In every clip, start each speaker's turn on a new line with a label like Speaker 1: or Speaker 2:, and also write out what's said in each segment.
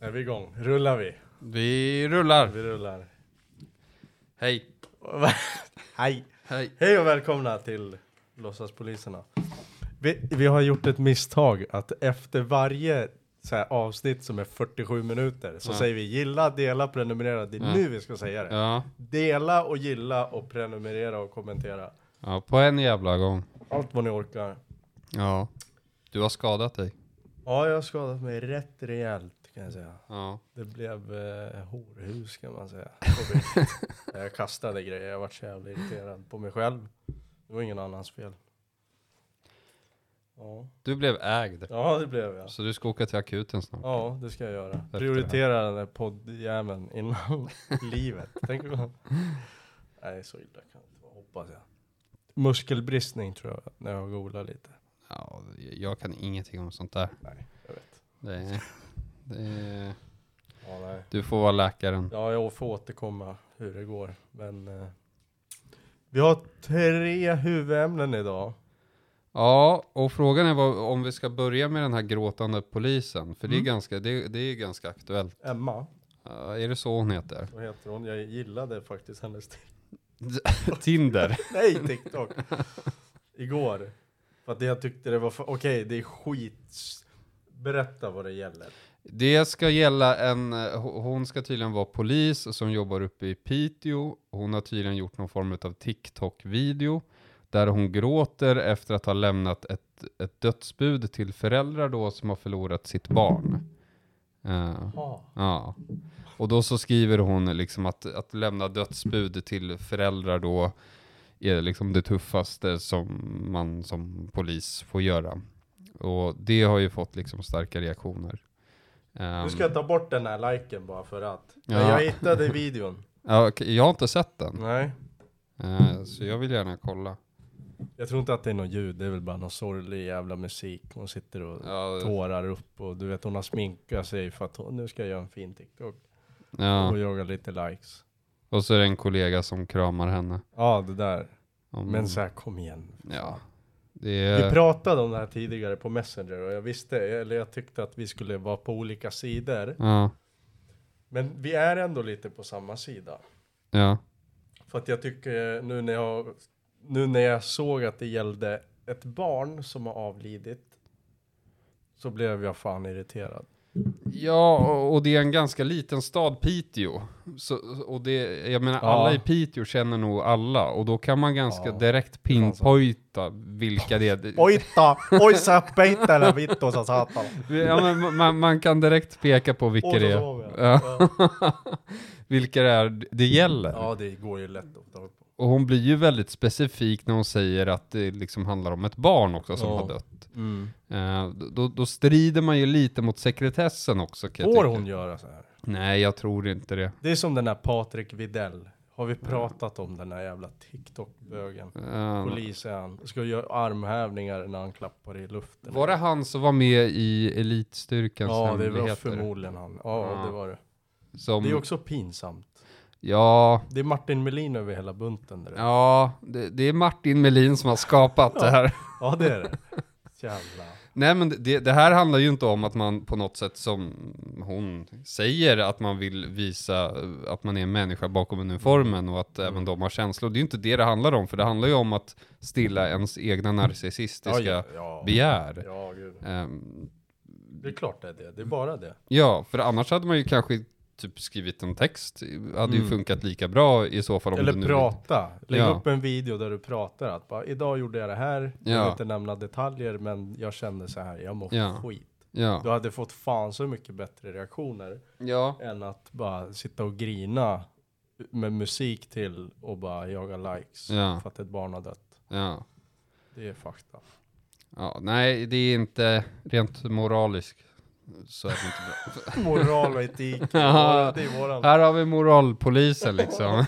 Speaker 1: Är vi igång? Rullar vi?
Speaker 2: Vi rullar.
Speaker 1: Vi rullar.
Speaker 2: Hej.
Speaker 1: Hej!
Speaker 2: Hej.
Speaker 1: Hej och välkomna till Låtsaspoliserna. Vi, vi har gjort ett misstag att efter varje så här, avsnitt som är 47 minuter så
Speaker 2: Ja.
Speaker 1: säger vi gilla, dela, prenumerera. Det är
Speaker 2: Ja.
Speaker 1: nu vi ska säga det.
Speaker 2: Ja.
Speaker 1: Dela och gilla och prenumerera och kommentera.
Speaker 2: ja, på en jävla gång.
Speaker 1: Allt vad ni orkar.
Speaker 2: Ja. Du har skadat dig.
Speaker 1: Ja, jag har skadat mig rätt rejält kan jag säga.
Speaker 2: Ja.
Speaker 1: Det blev eh, horhus kan man säga. Jobbigt. jag kastade grejer, jag vart så jävla irriterad på mig själv. Det var ingen annans fel. Ja,
Speaker 2: Du blev ägd.
Speaker 1: ja det blev jag.
Speaker 2: Så du ska åka till akuten snart.
Speaker 1: Ja, det ska jag göra. Prioritera den där poddjäveln innan livet. Tänk om... Nej, så illa kan det inte vara, hoppas jag. Muskelbristning tror jag, när jag googlar lite.
Speaker 2: Ja, jag kan ingenting om sånt där.
Speaker 1: Nej, jag vet.
Speaker 2: Det är, det är,
Speaker 1: Ja, nej.
Speaker 2: du får vara läkaren.
Speaker 1: Ja, jag får återkomma hur det går. Men eh, vi har tre huvudämnen idag.
Speaker 2: Ja, och frågan är vad, om vi ska börja med den här gråtande polisen. För det, är
Speaker 1: Mm.
Speaker 2: ganska, det, det är ganska aktuellt.
Speaker 1: Emma,
Speaker 2: Ja, är det så hon heter?
Speaker 1: vad heter hon? Jag gillade faktiskt hennes TikTok.
Speaker 2: Tinder.
Speaker 1: Nej, TikTok! Igår. För att jag tyckte det var för... Okej, det är skit... Berätta vad det gäller.
Speaker 2: Det ska gälla en, eh, ho- hon ska tydligen vara polis som jobbar uppe i Piteå. Hon har tydligen gjort någon form av TikTok-video där hon gråter efter att ha lämnat ett, ett dödsbud till föräldrar då som har förlorat sitt barn. Eh,
Speaker 1: Ja.
Speaker 2: ja. Och då så skriver hon liksom att, att lämna dödsbud till föräldrar då är liksom det tuffaste som man som polis får göra. Och det har ju fått liksom starka reaktioner. Ehm,
Speaker 1: Nu ska jag ta bort den här liken bara för att. Men
Speaker 2: Ja.
Speaker 1: jag hittade videon.
Speaker 2: ja, okej, jag har inte sett den,
Speaker 1: Nej.
Speaker 2: eh, så jag vill gärna kolla.
Speaker 1: Jag tror inte att det är något ljud, det är väl bara någon sorglig jävla musik. Hon sitter och
Speaker 2: Ja,
Speaker 1: tårar upp och du vet hon har sminkat sig för att hon, nu ska jag göra en fin TikTok. Och
Speaker 2: ja.
Speaker 1: jaga lite likes.
Speaker 2: Och så är det en kollega som kramar henne.
Speaker 1: Ja, det där.
Speaker 2: Om-
Speaker 1: Men så här, kom igen.
Speaker 2: Mm. Ja. Det
Speaker 1: Vi
Speaker 2: är,
Speaker 1: pratade om det här tidigare på Messenger och jag visste, eller jag tyckte att vi skulle vara på olika sidor.
Speaker 2: ja,
Speaker 1: Men vi är ändå lite på samma sida.
Speaker 2: ja,
Speaker 1: För att jag tycker eh, nu när jag, nu när jag såg att det gällde ett barn som har avlidit. Så blev jag fan irriterad.
Speaker 2: ja, och- och det är en ganska liten stad, Piteå. Så, och det, jag menar,
Speaker 1: Ja.
Speaker 2: alla i Piteå känner nog alla. Och då kan man ganska
Speaker 1: Ja.
Speaker 2: direkt pinpointa vilka det är. Det-
Speaker 1: Oita! Oisa peitälä vittuosa saatana.
Speaker 2: Ja, men, man, man kan direkt peka på vilka det är.
Speaker 1: Ja.
Speaker 2: Vilka det är det gäller.
Speaker 1: ja, det går ju lätt att ta upp.
Speaker 2: Och hon blir ju väldigt specifik när hon säger att det liksom handlar om ett barn också som
Speaker 1: Ja.
Speaker 2: har dött. Eh, då, då strider man ju lite mot sekretessen också. kan jag
Speaker 1: Får
Speaker 2: tycka.
Speaker 1: hon göra så här?
Speaker 2: Nej, jag tror inte det.
Speaker 1: Det är som den här Patrik Videll. Har vi pratat om den här jävla TikTok-bögen?
Speaker 2: Eh,
Speaker 1: Polis är han. Ska göra armhävningar när han klappar i luften.
Speaker 2: var det han som var med i elitstyrkans
Speaker 1: Ja, det var
Speaker 2: hemligheter?
Speaker 1: förmodligen han. Ja,
Speaker 2: Ja.
Speaker 1: det var det.
Speaker 2: Som,
Speaker 1: Det är också pinsamt.
Speaker 2: Ja,
Speaker 1: Det är Martin Melin över hela bunten. Där. Ja.
Speaker 2: ja det, det är Martin Melin som har skapat det här.
Speaker 1: ja, det är det. Jävla.
Speaker 2: Nej men det, det här handlar ju inte om att man på något sätt som hon säger att man vill visa eh, att man är en människa bakom uniformen och att även de har känslor. Det är ju inte det det handlar om, för det handlar ju om att stilla ens egna narcissistiska
Speaker 1: ja, ja.
Speaker 2: begär.
Speaker 1: Ja, gud.
Speaker 2: Ehm,
Speaker 1: Det är klart det är det. Det är bara det.
Speaker 2: ja, för annars hade man ju kanske typ skrivit en text, Det hade ju
Speaker 1: Mm.
Speaker 2: funkat lika bra i så fall om det
Speaker 1: Eller
Speaker 2: nu...
Speaker 1: prata. Lägg
Speaker 2: Ja.
Speaker 1: upp en video där du pratar. Att bara, idag gjorde jag det här. Jag vill
Speaker 2: Ja.
Speaker 1: inte nämna detaljer, men jag kände så här. Jag mår
Speaker 2: Ja.
Speaker 1: skit. Du
Speaker 2: Ja.
Speaker 1: hade fått fan så mycket bättre reaktioner
Speaker 2: ja.
Speaker 1: än att bara sitta och grina med musik till och bara jaga likes
Speaker 2: Ja.
Speaker 1: för att ett barn har dött.
Speaker 2: Ja.
Speaker 1: Det är fakta.
Speaker 2: Ja. Nej, det är inte rent moraliskt så är det inte bra.
Speaker 1: Moral och etik, det
Speaker 2: Ja.
Speaker 1: är våran.
Speaker 2: Här har vi moralpolisen liksom.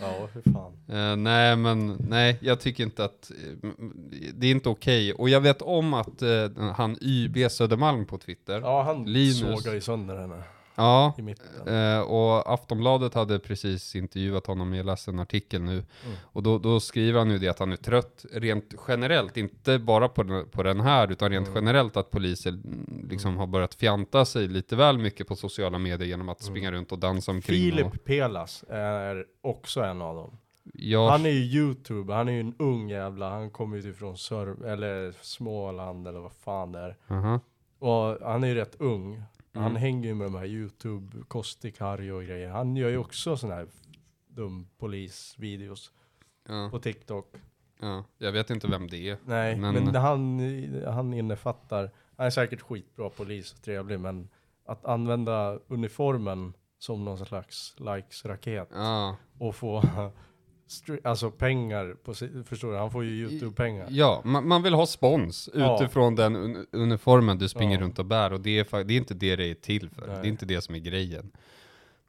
Speaker 1: Ja, hur fan.
Speaker 2: Eh, nej, men nej, jag tycker inte att eh, m- m- det är inte okej. Och jag vet om att eh, han YB Södermalm på Twitter,
Speaker 1: Ja, han
Speaker 2: Linus.
Speaker 1: sågar ju sönder henne.
Speaker 2: Ja,
Speaker 1: i mitten.
Speaker 2: Eh, och Aftonbladet hade precis intervjuat honom, jag läste en artikel nu. Och då, då skriver han ju det att han är trött rent generellt, inte bara på den, på den här, utan rent generellt att poliser mm, liksom har börjat fjanta sig lite väl mycket på sociala medier genom att springa runt och dansa omkring. Och,
Speaker 1: Filip Pelas är också en av dem.
Speaker 2: ja,
Speaker 1: Han är ju youtuber, han är ju en ung jävla, han kommer ju ifrån Sör eller Småland eller vad fan det är.
Speaker 2: aha.
Speaker 1: Och han är ju rätt ung. Han
Speaker 2: Mm.
Speaker 1: hänger ju med de här youtube, Kostik, Harry och grejer. Han gör ju också sådana här dum polisvideos
Speaker 2: ja,
Speaker 1: på TikTok.
Speaker 2: ja. Jag vet inte vem det är.
Speaker 1: Nej,
Speaker 2: Men-
Speaker 1: men, han, han innefattar, han är säkert skitbra polis och trevlig, men att använda uniformen som någon slags likes-raket
Speaker 2: Ja,
Speaker 1: och få stre- alltså pengar, på, si- förstår du? Han får ju YouTube-pengar.
Speaker 2: ja man, man vill ha spons
Speaker 1: Ja.
Speaker 2: utifrån den un uniformen du springer
Speaker 1: Ja.
Speaker 2: runt och bär och det är, fa- det är inte det det är till för. Det är
Speaker 1: Nej.
Speaker 2: inte det som är grejen.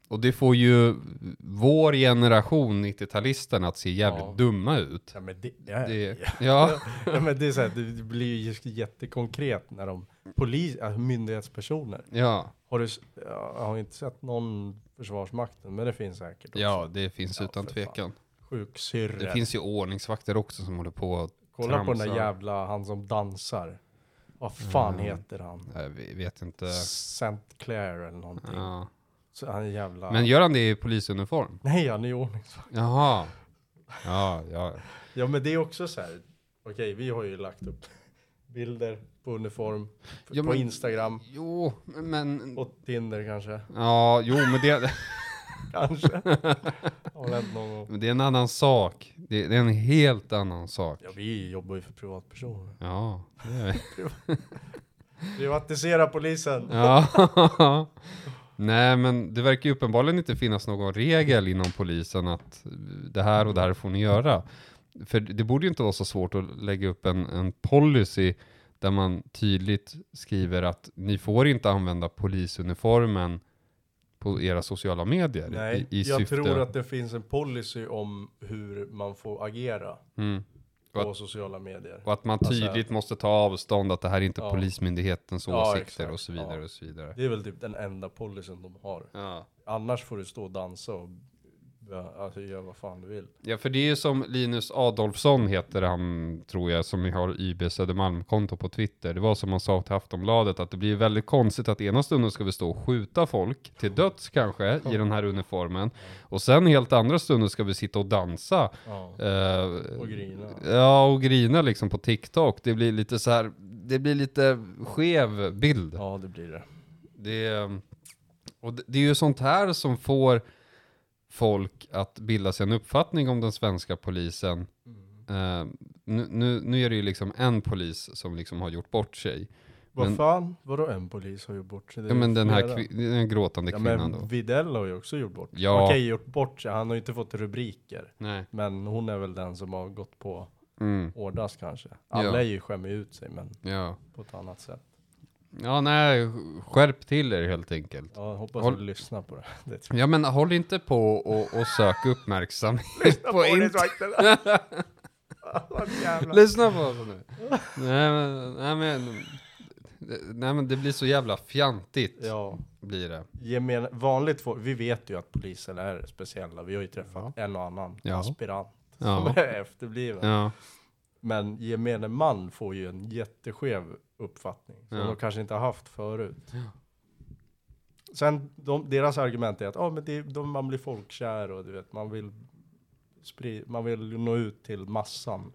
Speaker 2: Och det får ju vår generation, 90-talisterna, att se jävligt
Speaker 1: Ja.
Speaker 2: dumma ut.
Speaker 1: Ja, men det, ja,
Speaker 2: Det,
Speaker 1: ja.
Speaker 2: ja,
Speaker 1: Ja, men det, är så här, det blir ju just jättekonkret när de, polis, alltså myndighetspersoner,
Speaker 2: ja,
Speaker 1: har du, s- jag har inte sett någon försvarsmakten, men det finns säkert också.
Speaker 2: ja, det finns
Speaker 1: Ja,
Speaker 2: utan
Speaker 1: för fan.
Speaker 2: tvekan.
Speaker 1: Sjuksyrror.
Speaker 2: Det finns ju ordningsvakter också som håller på och
Speaker 1: Kolla på den där
Speaker 2: tramsar.
Speaker 1: jävla, han som dansar. Vad fan
Speaker 2: Mm.
Speaker 1: heter han?
Speaker 2: Nej, vi vet inte.
Speaker 1: St. Clair eller någonting.
Speaker 2: Ja.
Speaker 1: Så han är jävla...
Speaker 2: Men gör han det i polisuniform?
Speaker 1: Nej, han är ordningsvakt.
Speaker 2: Jaha. Ja, ja.
Speaker 1: Ja, men det är också så här. Okej, vi har ju lagt upp bilder på uniform. f-
Speaker 2: Ja,
Speaker 1: på
Speaker 2: men-
Speaker 1: Instagram.
Speaker 2: Jo, men...
Speaker 1: Och Tinder kanske.
Speaker 2: Ja, jo, men det,
Speaker 1: Kanske. har väl hänt någon gång.
Speaker 2: men det är en annan sak. Det, det är en helt annan sak.
Speaker 1: Ja, vi jobbar ju för privatpersoner.
Speaker 2: Ja, det är det.
Speaker 1: Privatisera polisen.
Speaker 2: ja. Nej, men det verkar ju uppenbarligen inte finnas någon regel inom polisen att det här och det här får ni göra. För det borde ju inte vara så svårt att lägga upp en, en policy där man tydligt skriver att ni får inte använda polisuniformen på era sociala medier.
Speaker 1: Nej,
Speaker 2: i, i
Speaker 1: jag
Speaker 2: syfte...
Speaker 1: tror att det finns en policy om hur man får agera
Speaker 2: Mm.
Speaker 1: på
Speaker 2: Vad-
Speaker 1: sociala medier.
Speaker 2: Och att man
Speaker 1: Alltså-
Speaker 2: tydligt måste ta avstånd att det här är inte
Speaker 1: Ja.
Speaker 2: polismyndighetens
Speaker 1: Ja,
Speaker 2: åsikter
Speaker 1: exakt.
Speaker 2: och så vidare
Speaker 1: Ja.
Speaker 2: och så vidare.
Speaker 1: Det är väl typ den enda policyn de har.
Speaker 2: Ja.
Speaker 1: Annars får du stå och dansa och ja, alltså, göra vad fan du vill.
Speaker 2: ja, för det är ju som Linus Adolfsson heter han, tror jag, som har YB Södermalm-konto på Twitter. Det var som han sa till Aftonbladet, att det blir väldigt konstigt att ena stunden ska vi stå och skjuta folk, till döds kanske, i den här uniformen. Och sen helt andra stunden ska vi sitta och dansa.
Speaker 1: Ja.
Speaker 2: eh,
Speaker 1: Och grina.
Speaker 2: Ja, och grina liksom på TikTok. Det blir lite så här, det blir lite skev bild.
Speaker 1: Ja, det blir det.
Speaker 2: Det, är- och det- det är ju sånt här som får folk att bilda sig en uppfattning om den svenska polisen. Eh, nu, nu, nu är det ju liksom en polis som liksom har gjort bort sig. Men-
Speaker 1: Vad fan? Vadå en polis har gjort bort sig? Det är
Speaker 2: Ja,
Speaker 1: ju
Speaker 2: men den här
Speaker 1: flera.
Speaker 2: kvi, den här gråtande
Speaker 1: Ja,
Speaker 2: kvinnan
Speaker 1: men
Speaker 2: då.
Speaker 1: Videll har ju också gjort bort sig.
Speaker 2: Ja.
Speaker 1: Okej, gjort bort sig. Han har ju inte fått rubriker.
Speaker 2: Nej.
Speaker 1: Men hon är väl den som har gått på
Speaker 2: Mm,
Speaker 1: hårdast kanske.
Speaker 2: Ja.
Speaker 1: Alla är ju skämmer ut sig, men
Speaker 2: ja.
Speaker 1: på ett annat sätt.
Speaker 2: ja, nej, skärp till er helt enkelt.
Speaker 1: Ja, jag hoppas
Speaker 2: Håll-
Speaker 1: att du lyssnar på det. det tror
Speaker 2: Ja, men håll inte på och, och sök uppmärksamhet
Speaker 1: jag.
Speaker 2: på internet.
Speaker 1: Vad jävla-
Speaker 2: Lyssna på oss nu. nej, men, nej, men, nej, men det blir så jävla fjantigt.
Speaker 1: Ja.
Speaker 2: blir det.
Speaker 1: gemen, vanligt folk, vi vet ju att polisen är speciella. Vi har ju träffat en och annan
Speaker 2: Ja.
Speaker 1: aspirant
Speaker 2: Ja.
Speaker 1: som är efterbliven.
Speaker 2: Ja.
Speaker 1: Men gemene man får ju en jätteskev uppfattning som
Speaker 2: Ja.
Speaker 1: de kanske inte har haft förut. Sen de, deras argument är att ah, men det, de, man blir folkkär och du vet, man vill, spri, man vill nå ut till massan.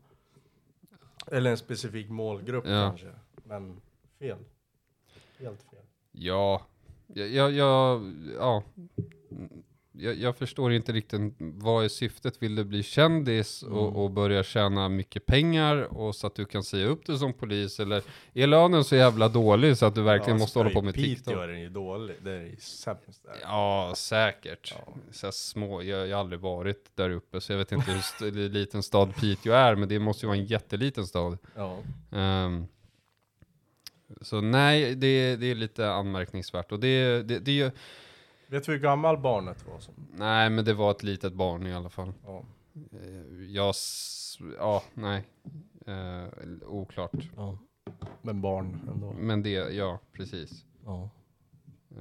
Speaker 1: Eller en specifik målgrupp
Speaker 2: Ja.
Speaker 1: kanske. Men fel. Helt fel.
Speaker 2: ja. Jag, jag, jag, ja. Mm, Jag, jag förstår inte riktigt vad är syftet. Vill du bli kändis och, och börja tjäna mycket pengar och så att du kan säga upp dig som polis? Eller är lönen så jävla dålig så att du verkligen
Speaker 1: Ja,
Speaker 2: måste hålla
Speaker 1: i
Speaker 2: på med
Speaker 1: Piteå
Speaker 2: TikTok?
Speaker 1: är den ju dålig. Det är ju sämst där.
Speaker 2: Ja, säkert.
Speaker 1: Ja.
Speaker 2: Så här små, jag, jag har aldrig varit där uppe så jag vet inte hur st- liten stad Piteå är, men det måste ju vara en jätteliten stad.
Speaker 1: Ja.
Speaker 2: Ehm, så nej, det, det är lite anmärkningsvärt. Och det, det, det, är ju-
Speaker 1: Vet du hur gammal barnet var? Som,
Speaker 2: nej, men det var ett litet barn i alla fall.
Speaker 1: ja.
Speaker 2: Eh, Jag, s- ja, nej. Eh, oklart.
Speaker 1: ja. Men barn ändå.
Speaker 2: Men det, ja, precis.
Speaker 1: Ja.
Speaker 2: Eh,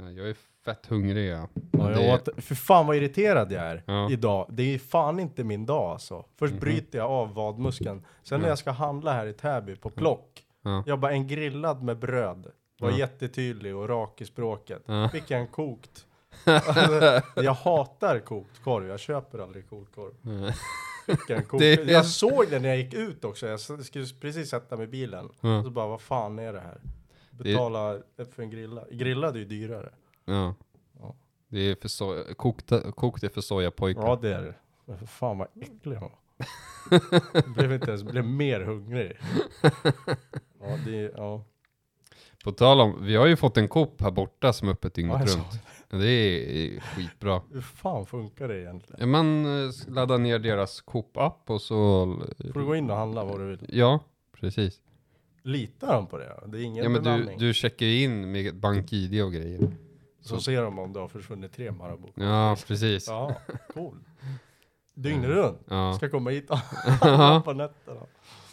Speaker 2: Eh, Jag är fett hungrig ja.
Speaker 1: Ja,
Speaker 2: Det-
Speaker 1: jag åt, för fan vad irriterad jag är
Speaker 2: Ja.
Speaker 1: idag. Det är fan inte min dag alltså. Först
Speaker 2: Mhm.
Speaker 1: bryter jag av vadmuskeln. Sen när jag ska handla här i Täby på Plock.
Speaker 2: Ja.
Speaker 1: Jag bara en grillad med bröd. Var
Speaker 2: Ja.
Speaker 1: jättetydlig och rak i språket.
Speaker 2: Ja.
Speaker 1: Fick jag en kokt. Alltså, jag hatar kokt korv. Jag köper aldrig kokt korv.
Speaker 2: Eh,
Speaker 1: Fick jag en kokt.
Speaker 2: Det är-
Speaker 1: Jag såg det när jag gick ut också. Jag s- skulle precis sätta mig i bilen.
Speaker 2: Ja.
Speaker 1: Så bara vad fan är det här? Betala för en grilla. Grillad är ju dyrare.
Speaker 2: Ja.
Speaker 1: Ja.
Speaker 2: Det är för soja, kokta, kokt är för sojapojkar.
Speaker 1: Ja det är det. Men för fan vad äcklig han var. Jag blev inte ens, blev mer hungrig. Ja det, är- ja.
Speaker 2: På tal om, vi har ju fått en kopp här borta som är öppet dygnet
Speaker 1: Ja, jag såg
Speaker 2: runt. Det är, är skitbra.
Speaker 1: Hur fan funkar det egentligen?
Speaker 2: Ja, Man eh, laddar ner deras Coop-app och så...
Speaker 1: Får du gå in och handla vad du vill?
Speaker 2: Ja, precis.
Speaker 1: Litar de på det? Det är ingen
Speaker 2: Ja, men du,
Speaker 1: bemanning.
Speaker 2: du checkar in med bank-id och grejer.
Speaker 1: Så ser de om det har försvunnit tre Marabou.
Speaker 2: Ja, precis.
Speaker 1: Ja, cool. Dygnet runt.
Speaker 2: Mm. Ja,
Speaker 1: Ska komma hit och handla på nätterna.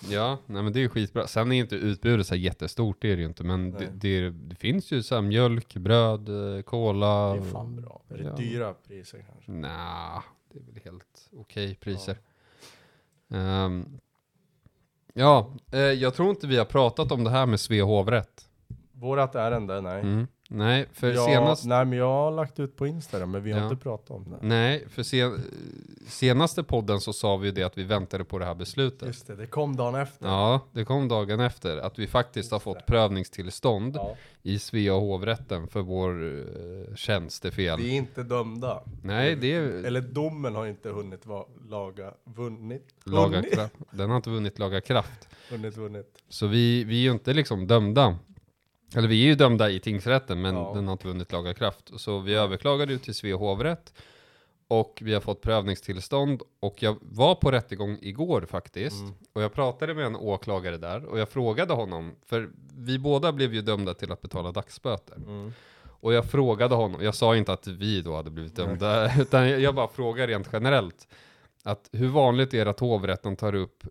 Speaker 2: ja nej, men det är ju skitbra. Sen är inte utbudet så här jättestort, det är det ju inte. Men det,
Speaker 1: Nej.
Speaker 2: det, är, det finns ju så här mjölk, bröd, eh,
Speaker 1: Det
Speaker 2: cola.
Speaker 1: är fan bra. Är det
Speaker 2: Ja.
Speaker 1: dyra priser kanske?
Speaker 2: Nja, det är väl helt okej priser. Ehm, ja, eh, jag tror inte vi har pratat om det här med Svea hovrätt.
Speaker 1: Vårat ärende? Nej.
Speaker 2: Mm. Nej, för
Speaker 1: Ja,
Speaker 2: senast...
Speaker 1: Nej men jag har lagt ut på Instagram men vi har
Speaker 2: Ja. Mm.
Speaker 1: inte pratat om det.
Speaker 2: Nej, för sen, senaste podden så sa vi ju det att vi väntade på det här beslutet.
Speaker 1: Just det, det kom dagen efter.
Speaker 2: Ja, det kom dagen efter att vi faktiskt har fått prövningstillstånd
Speaker 1: Ja.
Speaker 2: i Svea hovrätten för vår uh, tjänstefel.
Speaker 1: Vi är inte dömda.
Speaker 2: Nej, det är
Speaker 1: Eller domen har inte hunnit va- laga, vunnit.
Speaker 2: laga
Speaker 1: Vunnit.
Speaker 2: kraft. Den har inte vunnit laga kraft.
Speaker 1: Hunnit, vunnit.
Speaker 2: Så vi, vi är ju inte liksom dömda. Eller vi är ju dömda i tingsrätten, men
Speaker 1: Ja.
Speaker 2: den har inte vunnit laga kraft. Så vi överklagade ju till Svea hovrätt och vi har fått prövningstillstånd. Och jag var på rättegång igår faktiskt. Och jag pratade med en åklagare där och jag frågade honom, för vi båda blev ju dömda till att betala dagsböter.
Speaker 1: Mm.
Speaker 2: Och jag frågade honom, jag sa inte att vi då hade blivit dömda, utan jag jag bara frågar rent generellt. Att hur vanligt är det att hovrätten tar upp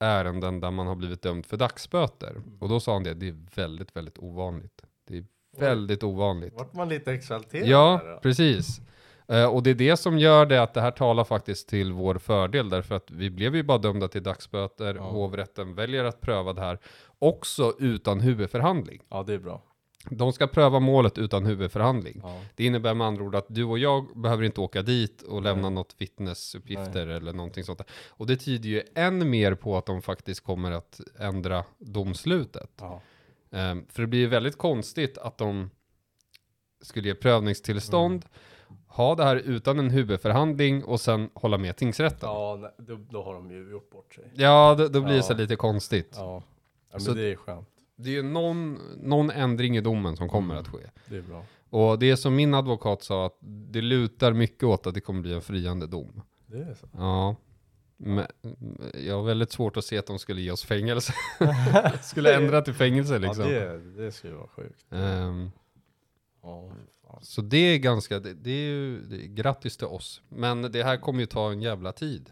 Speaker 2: ärenden där man har blivit dömd för dagsböter? Och då sa han det, det är väldigt, väldigt ovanligt. Det är väldigt ovanligt.
Speaker 1: Vart man lite exalterad där
Speaker 2: Ja,
Speaker 1: då?
Speaker 2: precis. Eh, Och det är det som gör det att det här talar faktiskt till vår fördel, därför att vi blev ju bara dömda till dagsböter, hovrätten väljer att pröva det här, också utan huvudförhandling.
Speaker 1: Ja, det är bra.
Speaker 2: De ska pröva målet utan huvudförhandling.
Speaker 1: Ja.
Speaker 2: Det innebär med andra ord att du och jag behöver inte åka dit och lämna något vittnesuppgifter eller någonting sånt där. Och det tyder ju än mer på att de faktiskt kommer att ändra domslutet.
Speaker 1: Ja.
Speaker 2: Ehm, för det blir ju väldigt konstigt att de skulle ge prövningstillstånd,
Speaker 1: Mm.
Speaker 2: ha det här utan en huvudförhandling och sen hålla med tingsrätten. Ja,
Speaker 1: Ja, nej, då, då har de ju gjort bort sig.
Speaker 2: då, då blir det så
Speaker 1: Ja.
Speaker 2: lite konstigt.
Speaker 1: Ja, ja men
Speaker 2: Så-
Speaker 1: det är skönt.
Speaker 2: Det är ju någon, någon ändring i domen som kommer
Speaker 1: Mm.
Speaker 2: att ske.
Speaker 1: Det är bra.
Speaker 2: Och det är som min advokat sa, att det lutar mycket åt att det kommer bli en friande dom.
Speaker 1: Det är så.
Speaker 2: Ja. Men, mm, jag har väldigt svårt att se att de skulle ge oss fängelse. skulle ändra till fängelse liksom.
Speaker 1: Ja, det, det skulle vara sjukt.
Speaker 2: Ehm,
Speaker 1: Ja, fan.
Speaker 2: så det är ganska, det, det är ju, det, är- grattis till oss. Men det här kommer ju ta en jävla tid,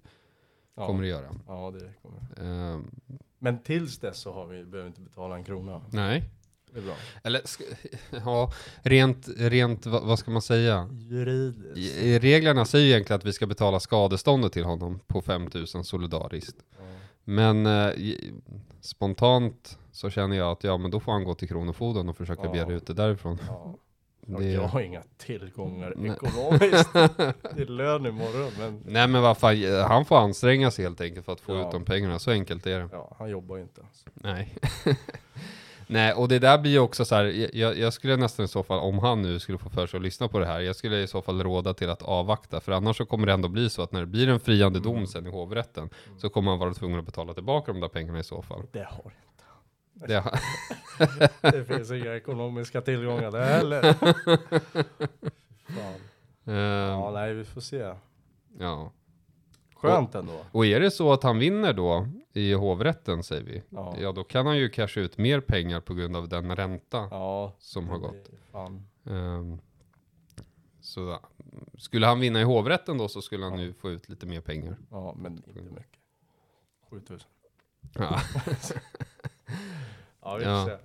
Speaker 1: Ja.
Speaker 2: kommer det göra.
Speaker 1: ja, det kommer.
Speaker 2: Ehm,
Speaker 1: Men tills dess så har vi, behöver vi inte betala en krona.
Speaker 2: nej.
Speaker 1: Det är bra.
Speaker 2: Eller, sk- ja, rent, rent, vad, vad ska man säga?
Speaker 1: Juridiskt.
Speaker 2: I- Reglerna säger ju egentligen att vi ska betala skadeståndet till honom på 5000 solidariskt.
Speaker 1: Ja.
Speaker 2: Men eh, i- spontant så känner jag att ja, men då får han gå till Kronofogden och försöka
Speaker 1: Ja.
Speaker 2: begära ut det därifrån.
Speaker 1: Ja. Och
Speaker 2: Det-
Speaker 1: Jag har inga tillgångar
Speaker 2: Nej.
Speaker 1: ekonomiskt. Det är lön imorgon, men
Speaker 2: Nej men vad fan, eh, han får anstränga sig helt enkelt för att få
Speaker 1: Ja.
Speaker 2: ut de pengarna, så enkelt är det.
Speaker 1: ja, han jobbar ju inte. ens.
Speaker 2: Nej. Nej, och det där blir ju också så här, jag, jag skulle nästan i så fall, om han nu skulle få för sig att lyssna på det här, jag skulle i så fall råda till att avvakta, för annars så kommer det ändå bli så att när det blir en friande
Speaker 1: Mm.
Speaker 2: dom sen i hovrätten, så kommer han vara tvungen att betala tillbaka de där pengarna i så fall.
Speaker 1: Det har
Speaker 2: Det,
Speaker 1: Det finns inga ekonomiska tillgångar där heller. Fan. Ja,
Speaker 2: Ehm,
Speaker 1: nej, vi får se.
Speaker 2: ja.
Speaker 1: Skönt ändå.
Speaker 2: Och är det så att han vinner då i hovrätten säger vi, ja.
Speaker 1: Ja.
Speaker 2: då kan han ju casha ut mer pengar på grund av den ränta
Speaker 1: Ja,
Speaker 2: som har gått.
Speaker 1: det- fan.
Speaker 2: Ehm, så ja. skulle han vinna i hovrätten då så skulle han ju få ut lite mer pengar.
Speaker 1: Ja, men inte
Speaker 2: Mm.
Speaker 1: mycket. 7000.
Speaker 2: Ja,
Speaker 1: Ja, vi får
Speaker 2: Ja.
Speaker 1: se.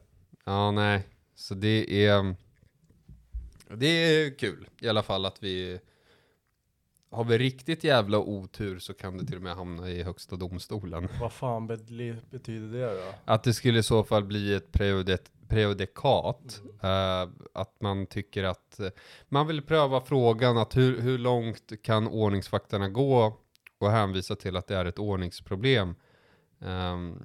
Speaker 2: ja nej, så det är... Det är kul i alla fall att vi har vi riktigt jävla otur så kan det till och med hamna i högsta domstolen.
Speaker 1: Vad fan bet- betyder det då?
Speaker 2: Att det skulle i så fall bli ett prejudet, prejudikat.
Speaker 1: Mm.
Speaker 2: eh, att man tycker att eh, man vill pröva frågan att hur, hur långt kan ordningsvakterna gå och hänvisa till att det är ett ordningsproblem. Ehm,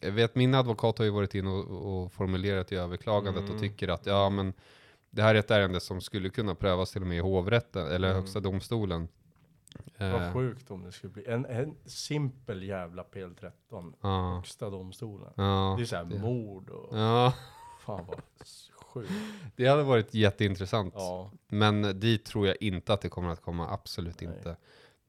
Speaker 2: jag vet min advokat har ju varit inne och, och formulerat i överklagandet och
Speaker 1: Mm.
Speaker 2: tycker att ja men det här är ett ärende som skulle kunna prövas till och med i hovrätten eller
Speaker 1: Mm.
Speaker 2: högsta domstolen. Eh,
Speaker 1: Vad sjukt om det skulle bli. En, en simpel jävla PL13.
Speaker 2: ja,
Speaker 1: Högsta domstolen.
Speaker 2: ja,
Speaker 1: Det är såhär
Speaker 2: det-
Speaker 1: mord och
Speaker 2: ja,
Speaker 1: fan vad s- sjukt.
Speaker 2: det hade varit jätteintressant.
Speaker 1: Ja.
Speaker 2: Men dit tror jag inte att det kommer att komma, absolut
Speaker 1: Nej.
Speaker 2: inte.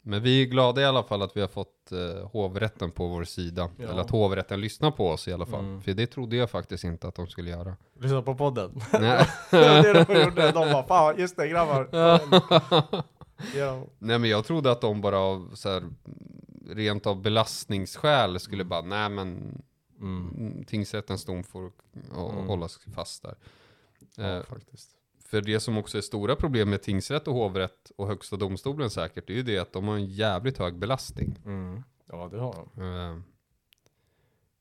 Speaker 2: Men vi är glada i alla fall att vi har fått eh, hovrätten på vår sida.
Speaker 1: Ja.
Speaker 2: Eller att hovrätten lyssnar på oss i alla fall.
Speaker 1: Mm.
Speaker 2: För det trodde jag faktiskt inte att de skulle göra.
Speaker 1: Lyssna på podden.
Speaker 2: Nej.
Speaker 1: det är det de gjorde. De bara fan just det grabbar. ja.
Speaker 2: nej men jag trodde att de bara av så här, rent av belastningsskäl skulle bara, nej men
Speaker 1: Mm.
Speaker 2: mm, tingsrättens dom får å-
Speaker 1: Mm.
Speaker 2: hållas fast där. Eh,
Speaker 1: ja faktiskt.
Speaker 2: För det som också är stora problem med tingsrätt och hovrätt och högsta domstolen säkert, det är ju det att de har en jävligt hög belastning.
Speaker 1: Mm. Ja det har de.
Speaker 2: Eh,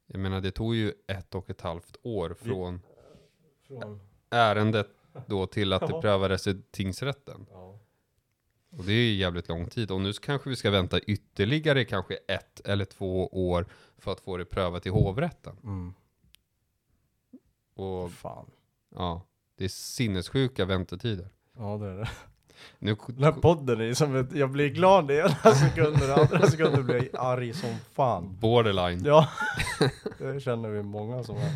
Speaker 2: Jag menar, det tog ju ett och ett halvt år från
Speaker 1: Från,
Speaker 2: ärendet då till att det
Speaker 1: Ja.
Speaker 2: prövades i tingsrätten.
Speaker 1: ja.
Speaker 2: Och det är ju jävligt lång tid. Och nu så kanske vi ska vänta ytterligare kanske ett eller två år för att få det prövat i hovrätten.
Speaker 1: Mm.
Speaker 2: Och
Speaker 1: Fan.
Speaker 2: ja, det är sinnessjuka väntetider.
Speaker 1: Ja det är det.
Speaker 2: Nu,
Speaker 1: Den här podden är som ett, jag blir glad den ena sekunden och andra sekunden blir jag arg som fan.
Speaker 2: borderline.
Speaker 1: Ja, det känner vi många som är.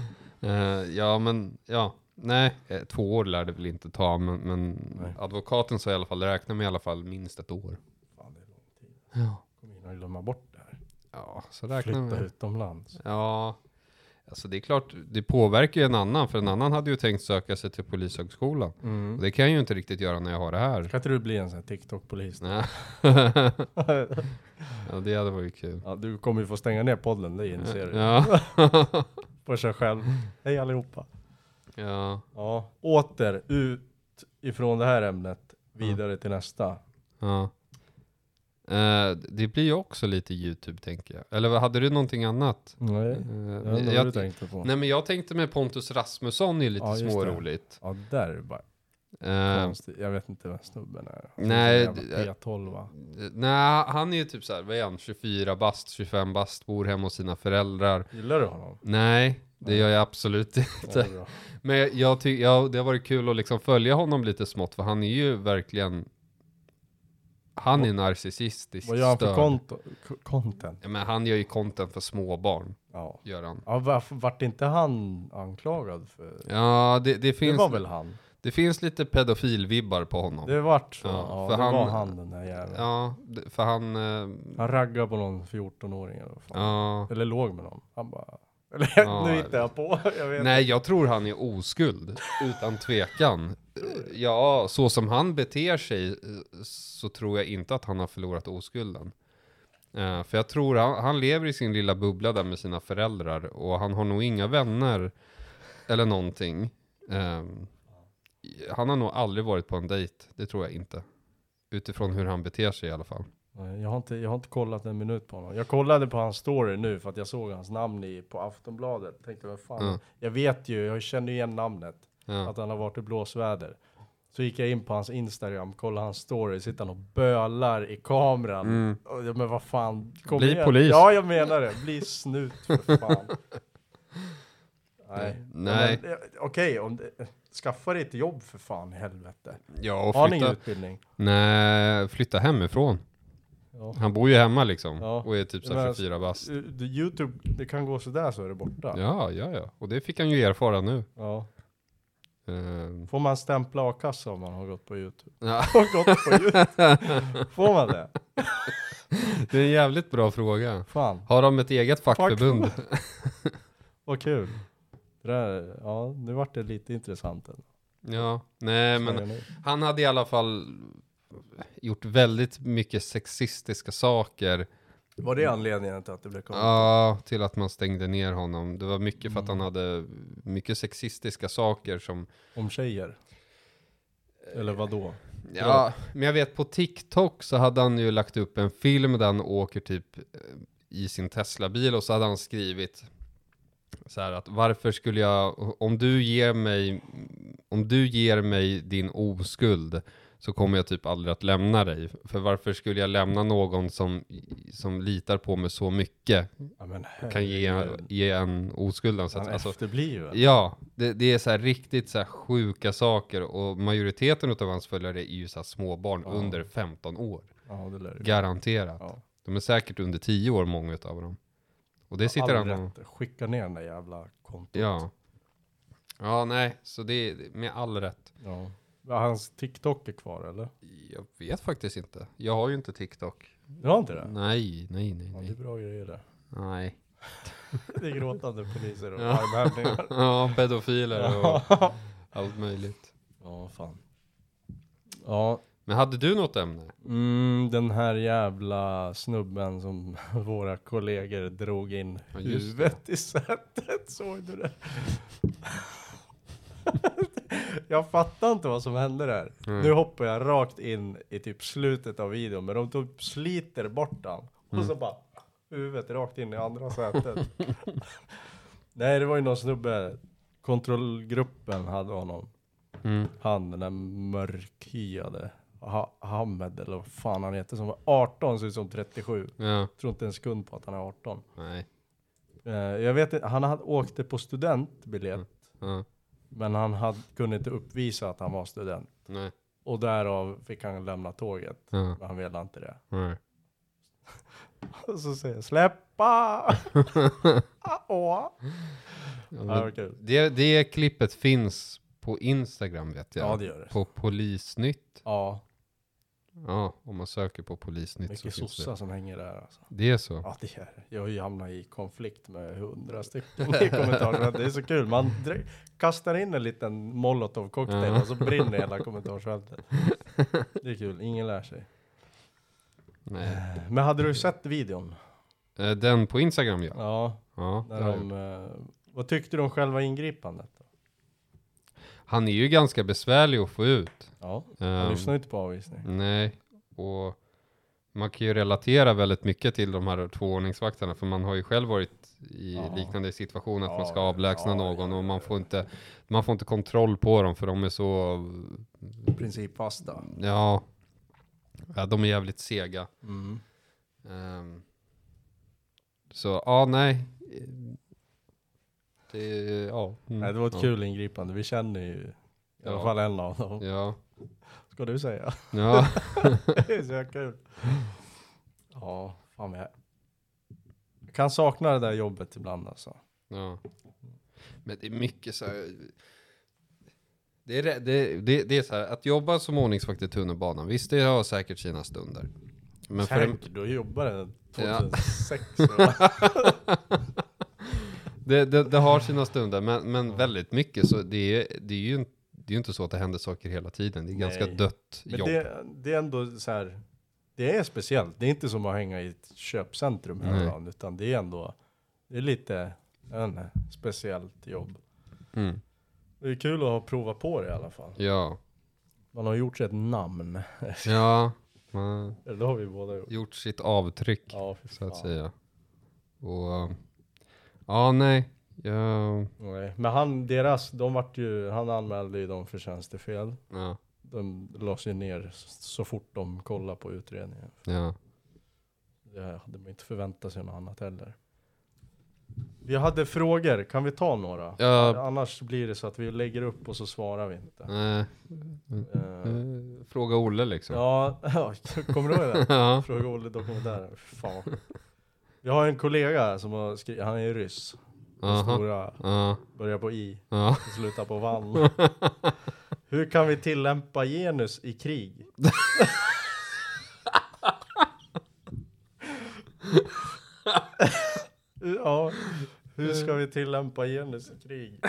Speaker 2: Eh, ja, men ja. Nej, eh, två år lär det väl inte ta, men, men
Speaker 1: Nej.
Speaker 2: advokaten sa i alla fall, räkna med i alla fall minst ett år.
Speaker 1: Fan det är lång tid.
Speaker 2: Ja.
Speaker 1: Kommer hinna glömma bort det här.
Speaker 2: Ja, så räknar
Speaker 1: Flytta
Speaker 2: vi.
Speaker 1: utomlands.
Speaker 2: Ja, alltså det är klart, det påverkar ju en annan, för en annan hade ju tänkt söka sig till Polishögskolan.
Speaker 1: Mm.
Speaker 2: Och det kan jag ju inte riktigt göra när jag har det här.
Speaker 1: Kan inte du bli en sån här TikTok-polis?
Speaker 2: Nej. ja, det hade varit kul.
Speaker 1: Ja, du kommer ju få stänga ner podden, det inser du.
Speaker 2: Ja.
Speaker 1: På sig själv. Hej allihopa.
Speaker 2: ja.
Speaker 1: Ja, åter ut ifrån det här ämnet, vidare till nästa.
Speaker 2: ja. Eh, det blir ju också lite YouTube tänker jag. Eller vad- hade du någonting annat?
Speaker 1: Nej, det var
Speaker 2: Uh,
Speaker 1: det du
Speaker 2: jag,
Speaker 1: tänkte på.
Speaker 2: nej men jag tänkte med Pontus Rasmusson är lite
Speaker 1: Ja, just det.
Speaker 2: småroligt.
Speaker 1: Ja, där är det bara
Speaker 2: Eh,
Speaker 1: konstigt. Jag vet inte vem snubben är.
Speaker 2: nej,
Speaker 1: Det är en jävla P12 va?
Speaker 2: Nej, han är ju typ såhär, vad är han, 24 bast, 25 bast, bor hemma hos sina föräldrar.
Speaker 1: Gillar du honom?
Speaker 2: Nej, det
Speaker 1: Nej.
Speaker 2: gör jag absolut
Speaker 1: Ja,
Speaker 2: inte.
Speaker 1: det är bra.
Speaker 2: Men jag, jag ty- jag, det har varit kul att liksom följa honom lite smått, för han är ju verkligen, han är narcissistisk.
Speaker 1: Vad gör han för
Speaker 2: störd.
Speaker 1: konto, k- content?
Speaker 2: Ja, Men han gör ju content för småbarn,
Speaker 1: Ja.
Speaker 2: gör han.
Speaker 1: ja, varför vart inte han anklagad för?
Speaker 2: Ja, det, det,
Speaker 1: Det
Speaker 2: finns,
Speaker 1: var väl han?
Speaker 2: det finns lite pedofilvibbar på honom.
Speaker 1: Det vart så.
Speaker 2: Ja,
Speaker 1: Ja,
Speaker 2: för
Speaker 1: det
Speaker 2: han-
Speaker 1: var han den där jäveln.
Speaker 2: Ja, det- för han, eh,
Speaker 1: Han raggade på någon 14-åring eller vad fan.
Speaker 2: ja.
Speaker 1: Eller låg med någon. Han bara... Eller
Speaker 2: Ja,
Speaker 1: nu
Speaker 2: jag
Speaker 1: hittar jag på. Jag vet.
Speaker 2: Nej, jag tror han är oskuld, utan tvekan. Ja, så som han beter sig eh, så tror jag inte att han har förlorat oskulden. Eh, För jag tror han, han lever i sin lilla bubbla där med sina föräldrar och han har nog inga vänner eller någonting. Eh, Han har nog aldrig varit på en dejt, det tror jag inte. Utifrån hur han beter sig i alla fall.
Speaker 1: Nej, Jag har, inte, jag har inte kollat en minut på honom. Jag kollade på hans story nu för att jag såg hans namn i, på Aftonbladet. Tänkte vad fan.
Speaker 2: Mm.
Speaker 1: Jag vet ju, jag känner igen namnet.
Speaker 2: Ja.
Speaker 1: Att han har varit i blåsväder. Så gick jag in på hans Instagram, kollade hans story, sitter han och bölar i kameran.
Speaker 2: Mm.
Speaker 1: Och jag, Men vad fan,
Speaker 2: Bli polis.
Speaker 1: Ja, jag menar det. Bli snut för fan. Nej.
Speaker 2: Nej.
Speaker 1: Men, eh, Okej, om det- skaffa dig ett jobb för fan i helvete.
Speaker 2: Ja, och
Speaker 1: Har ni ingen
Speaker 2: flytta,
Speaker 1: utbildning?
Speaker 2: nej, flytta hemifrån.
Speaker 1: Ja.
Speaker 2: Han bor ju hemma liksom
Speaker 1: Ja.
Speaker 2: och är typ så
Speaker 1: Men
Speaker 2: här
Speaker 1: alltså,
Speaker 2: 24 bast.
Speaker 1: Eh, det- Youtube, det kan gå sådär så är det borta.
Speaker 2: Ja, ja, ja. Och det fick han ju erfara nu.
Speaker 1: Ja.
Speaker 2: Ehm,
Speaker 1: Får man stämpla a-kassa om man har gått på Youtube?
Speaker 2: Ja.
Speaker 1: Har gått på YouTube? Får man det?
Speaker 2: det är en jävligt bra fråga.
Speaker 1: Fan,
Speaker 2: Har de ett eget fackförbund?
Speaker 1: vad kul. Det där, ja, nu vart det lite intressant. ändå.
Speaker 2: Ja, nej men
Speaker 1: Snarare nu.
Speaker 2: han hade i alla fall gjort väldigt mycket sexistiska saker.
Speaker 1: Var det anledningen till att det blev konstigt?
Speaker 2: Ja, till att man stängde ner honom. Det var mycket för att
Speaker 1: Mm.
Speaker 2: han hade mycket sexistiska saker som
Speaker 1: Om tjejer? Eller vad då?
Speaker 2: Ja, men jag vet på TikTok så hade han ju lagt upp en film där han åker typ eh, i sin Tesla-bil och så hade han skrivit så här att varför skulle jag, om du ger mig, om du ger mig din oskuld så kommer jag typ aldrig att lämna dig. För varför skulle jag lämna någon som, som litar på mig så mycket?
Speaker 1: Ja, men,
Speaker 2: Kan ge, ge en oskulden. Så
Speaker 1: Han
Speaker 2: att, alltså,
Speaker 1: efterbliven.
Speaker 2: Ja, det, det är så här riktigt så här sjuka saker och majoriteten av hans följare är ju så här småbarn under 15 år.
Speaker 1: Ja, det lär ju.
Speaker 2: Garanterat.
Speaker 1: Ja.
Speaker 2: De är säkert under 10 år, många av dem. Och det sitter
Speaker 1: All
Speaker 2: han och...
Speaker 1: rätt. Skicka ner den där jävla kontot.
Speaker 2: Ja. Ja, nej, så det är med all rätt.
Speaker 1: Ja. Men Hans TikTok är kvar eller?
Speaker 2: Jag vet faktiskt inte. Jag har ju inte TikTok.
Speaker 1: Du har inte det?
Speaker 2: Nej, nej, nej,
Speaker 1: Ja, det är
Speaker 2: nej.
Speaker 1: bra grejer det.
Speaker 2: nej.
Speaker 1: Det är gråtande poliser och
Speaker 2: Ja.
Speaker 1: armhävningar.
Speaker 2: Ja, pedofiler och allt möjligt.
Speaker 1: Ja, fan. Ja,
Speaker 2: Men hade du något ämne?
Speaker 1: mm, den här jävla snubben som våra kollegor drog in
Speaker 2: Ja, just
Speaker 1: huvudet i sätet. Såg du det? jag fattar inte vad som hände där.
Speaker 2: Mm.
Speaker 1: Nu hoppar jag rakt in i typ slutet av videon, men de typ sliter bort den. Och
Speaker 2: Mm.
Speaker 1: så bara huvudet rakt in i andra sätet. Nej, det var ju någon snubbe. Kontrollgruppen hade honom.
Speaker 2: Mm.
Speaker 1: Han den där mörkhyade ha Hamed eller vad fan han heter som var 18 ser ut som 37.
Speaker 2: Ja,
Speaker 1: Tror inte en sekund på att han är 18.
Speaker 2: nej.
Speaker 1: Eh, jag vet inte, han hade, åkte på studentbiljett.
Speaker 2: Ja,
Speaker 1: Men han hade, kunde inte uppvisa att han var student.
Speaker 2: nej.
Speaker 1: Och därav fick han lämna tåget.
Speaker 2: Ja,
Speaker 1: Men han ville inte det.
Speaker 2: nej.
Speaker 1: Och så säger jag släppa! Ah, Åh!
Speaker 2: Ja,
Speaker 1: Ja, det
Speaker 2: men
Speaker 1: var kul.
Speaker 2: det, det klippet finns på Instagram vet jag.
Speaker 1: Ja det gör det.
Speaker 2: På Polisnytt.
Speaker 1: Ja,
Speaker 2: Ja, om man söker på Polisnytt så
Speaker 1: mycket
Speaker 2: finns det.
Speaker 1: sossar som hänger där alltså.
Speaker 2: Det är så.
Speaker 1: Ja, det är det. Jag har ju hamnat i konflikt med hundra stycken i kommentarsfältet. Det är så kul. Man direkt kastar in en liten molotovcocktail
Speaker 2: Ja.
Speaker 1: och så brinner hela kommentarsfältet. Det är kul. Ingen lär sig.
Speaker 2: Nej.
Speaker 1: Men hade du sett videon?
Speaker 2: Eh, Den på Instagram ja.
Speaker 1: Ja,
Speaker 2: ja det
Speaker 1: när
Speaker 2: har jag gjort.
Speaker 1: de, eh, vad tyckte du om själva ingripandet? då?
Speaker 2: han är ju ganska besvärlig att få ut.
Speaker 1: Ja,
Speaker 2: Ehm,
Speaker 1: jag lyssnar inte på avvisning.
Speaker 2: nej, och man kan ju relatera väldigt mycket till de här två ordningsvakterna. För man har ju själv varit i
Speaker 1: Ja.
Speaker 2: liknande situation att man ska
Speaker 1: Ja,
Speaker 2: avlägsna
Speaker 1: ja,
Speaker 2: någon
Speaker 1: ja,
Speaker 2: och man får, inte, man får inte kontroll på dem för de är så Mm.
Speaker 1: Principfasta.
Speaker 2: Ja. ja, de är jävligt sega.
Speaker 1: Mm.
Speaker 2: Ehm, så, ja, nej. Det, är- ja. Mm,
Speaker 1: Nej, det var ett
Speaker 2: ja.
Speaker 1: kul ingripande. Vi känner ju i alla
Speaker 2: Ja.
Speaker 1: fall en av dem.
Speaker 2: Ja,
Speaker 1: Ska du säga?
Speaker 2: ja.
Speaker 1: Det är så jävla kul. Ja, fan vad jag... jag kan sakna det där jobbet ibland alltså.
Speaker 2: ja. Men det är mycket så här. Det är, rä- det, det, det är så här, att jobba som ordningsvakt i tunnelbanan, visst det har säkert sina stunder. Men för en,
Speaker 1: Säkert, du jobbade
Speaker 2: Ja.
Speaker 1: 2006. Ja.
Speaker 2: det, det, det har sina stunder, men, men väldigt mycket så det är, det är ju inte, det är ju inte så att det händer saker hela tiden. Det är ganska
Speaker 1: Nej.
Speaker 2: dött
Speaker 1: Men
Speaker 2: jobb.
Speaker 1: det, det är ändå så här. Det är speciellt. Det är inte som att hänga i ett köpcentrum hela
Speaker 2: Nej.
Speaker 1: dagen, utan det är ändå. Det är lite, jag vet inte, speciellt jobb.
Speaker 2: Mm.
Speaker 1: Det är kul att ha provat på det i alla fall.
Speaker 2: Ja.
Speaker 1: Man har gjort sig ett namn.
Speaker 2: Ja, man har
Speaker 1: Eller det har vi båda gjort.
Speaker 2: gjort sitt avtryck
Speaker 1: Ja, fy
Speaker 2: så att
Speaker 1: fan.
Speaker 2: säga. Och um, ja, nej. Ja,
Speaker 1: Nej. Men han, deras, de vart ju, han anmälde ju dem för tjänstefel.
Speaker 2: ja,
Speaker 1: De lades ju ner så fort de kollade på utredningen.
Speaker 2: ja.
Speaker 1: Det hade man inte förväntat sig något annat heller. Vi hade frågor, kan vi ta några?
Speaker 2: ja
Speaker 1: Annars blir det så att vi lägger upp och så svarar vi inte.
Speaker 2: nej.
Speaker 1: Eh,
Speaker 2: Eh, Fråga Olle liksom.
Speaker 1: ja, kommer du ihåg det?
Speaker 2: ja.
Speaker 1: Fråga Olle dokumentären. Fan. Vi har en kollega här som har skrivit, han är ryss. Den
Speaker 2: Aha.
Speaker 1: Stora,
Speaker 2: Ja,
Speaker 1: börjar på i,
Speaker 2: ja.
Speaker 1: och slutar på vann. Hur kan vi tillämpa genus i krig? ja, hur ska vi tillämpa genus i krig?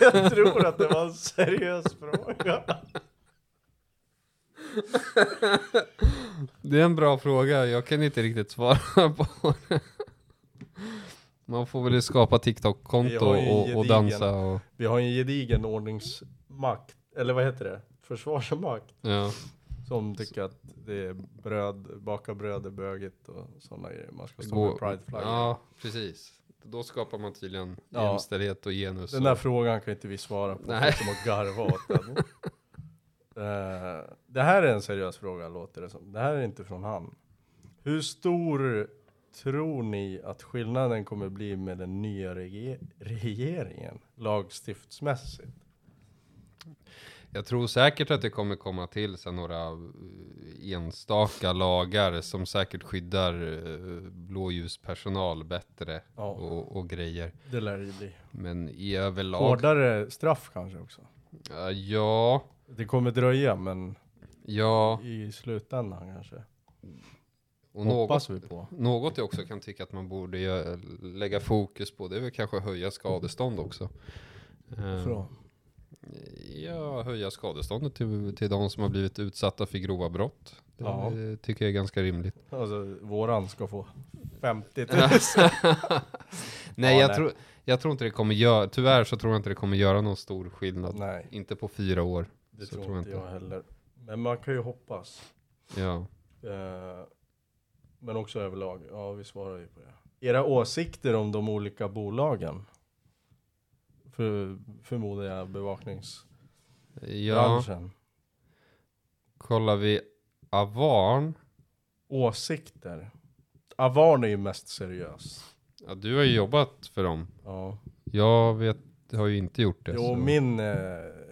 Speaker 1: Jag tror att det var en seriös fråga.
Speaker 2: Det är en bra fråga. Jag kan inte riktigt svara på det. Man får väl skapa
Speaker 1: Vi
Speaker 2: TikTok-konto
Speaker 1: har ju en
Speaker 2: och, och
Speaker 1: gedigen-
Speaker 2: dansa och...
Speaker 1: Vi har en gedigen ordningsmakt, eller vad heter det? försvarsmakt
Speaker 2: Ja.
Speaker 1: som tycker att det är bröd, baka bröd är bögigt och sådana grejer. Man ska stå
Speaker 2: Gå-
Speaker 1: med prideflaggan.
Speaker 2: Ja, precis. Då skapar man tydligen
Speaker 1: Ja.
Speaker 2: jämställdhet och genus.
Speaker 1: Den
Speaker 2: och-
Speaker 1: där frågan kan inte vi svara på,
Speaker 2: Nej.
Speaker 1: förutom att garva åt den. Eh, det här är en seriös fråga, låter det som. Det här är inte från han. Hur stor tror ni att skillnaden kommer bli med den nya rege- regeringen, lagstiftsmässigt?
Speaker 2: Jag tror säkert att det kommer komma till sen några eh, enstaka lagar som säkert skyddar eh, blåljuspersonal bättre
Speaker 1: Ja,
Speaker 2: och, och grejer.
Speaker 1: det lär det bli.
Speaker 2: Men i överlag...
Speaker 1: Hårdare straff kanske också.
Speaker 2: Ja, Ja,
Speaker 1: Det kommer dröja, men
Speaker 2: ja.
Speaker 1: i slutändan kanske.
Speaker 2: Och något,
Speaker 1: Hoppas vi på.
Speaker 2: något jag också kan tycka att man borde gö- lägga fokus på, det är väl kanske höja skadestånd också. Eh,
Speaker 1: Från.
Speaker 2: Ja, höja skadeståndet till, till de som har blivit utsatta för grova brott. Det
Speaker 1: Ja.
Speaker 2: eh, tycker jag är ganska rimligt.
Speaker 1: Alltså, våran ska få 50 000.
Speaker 2: Nej,
Speaker 1: Ja,
Speaker 2: jag,
Speaker 1: nej.
Speaker 2: Tror, jag tror inte det kommer göra, tyvärr så tror jag inte det kommer göra någon stor skillnad.
Speaker 1: Nej,
Speaker 2: Inte på fyra år.
Speaker 1: det
Speaker 2: Så
Speaker 1: tror,
Speaker 2: tror jag
Speaker 1: inte
Speaker 2: inte.
Speaker 1: jag heller. Men man kan ju hoppas.
Speaker 2: Ja.
Speaker 1: Eh, Men också överlag. Ja, vi svarar ju på det. Era åsikter om de olika bolagen? För, förmodar jag bevakningsbranschen.
Speaker 2: ja, kollar vi Avarn.
Speaker 1: Åsikter. Avarn är ju mest seriös.
Speaker 2: Ja, du har ju
Speaker 1: Mm.
Speaker 2: jobbat för dem.
Speaker 1: Ja.
Speaker 2: Jag vet, har ju inte gjort det.
Speaker 1: Jo,
Speaker 2: så-
Speaker 1: min, eh,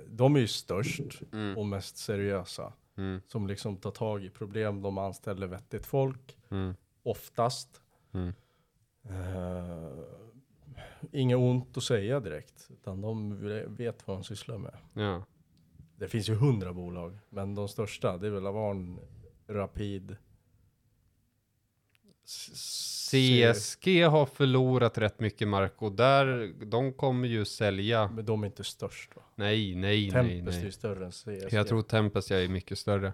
Speaker 1: de är ju störst
Speaker 2: Mm,
Speaker 1: och mest seriösa.
Speaker 2: mm,
Speaker 1: Som liksom tar tag i problem. De anställer vettigt folk.
Speaker 2: mm,
Speaker 1: oftast.
Speaker 2: Mm.
Speaker 1: Eh, inget ont att säga direkt, utan de vet vad de sysslar med.
Speaker 2: ja.
Speaker 1: Det finns ju hundra bolag, men de största, det är väl Avarn, Rapid.
Speaker 2: CSG har förlorat rätt mycket mark och där, de kommer ju sälja.
Speaker 1: Men de är inte störst va?
Speaker 2: Nej, nej, nej,
Speaker 1: Tempest är ju
Speaker 2: nej.
Speaker 1: större än CSG.
Speaker 2: Jag tror Tempestia är mycket större.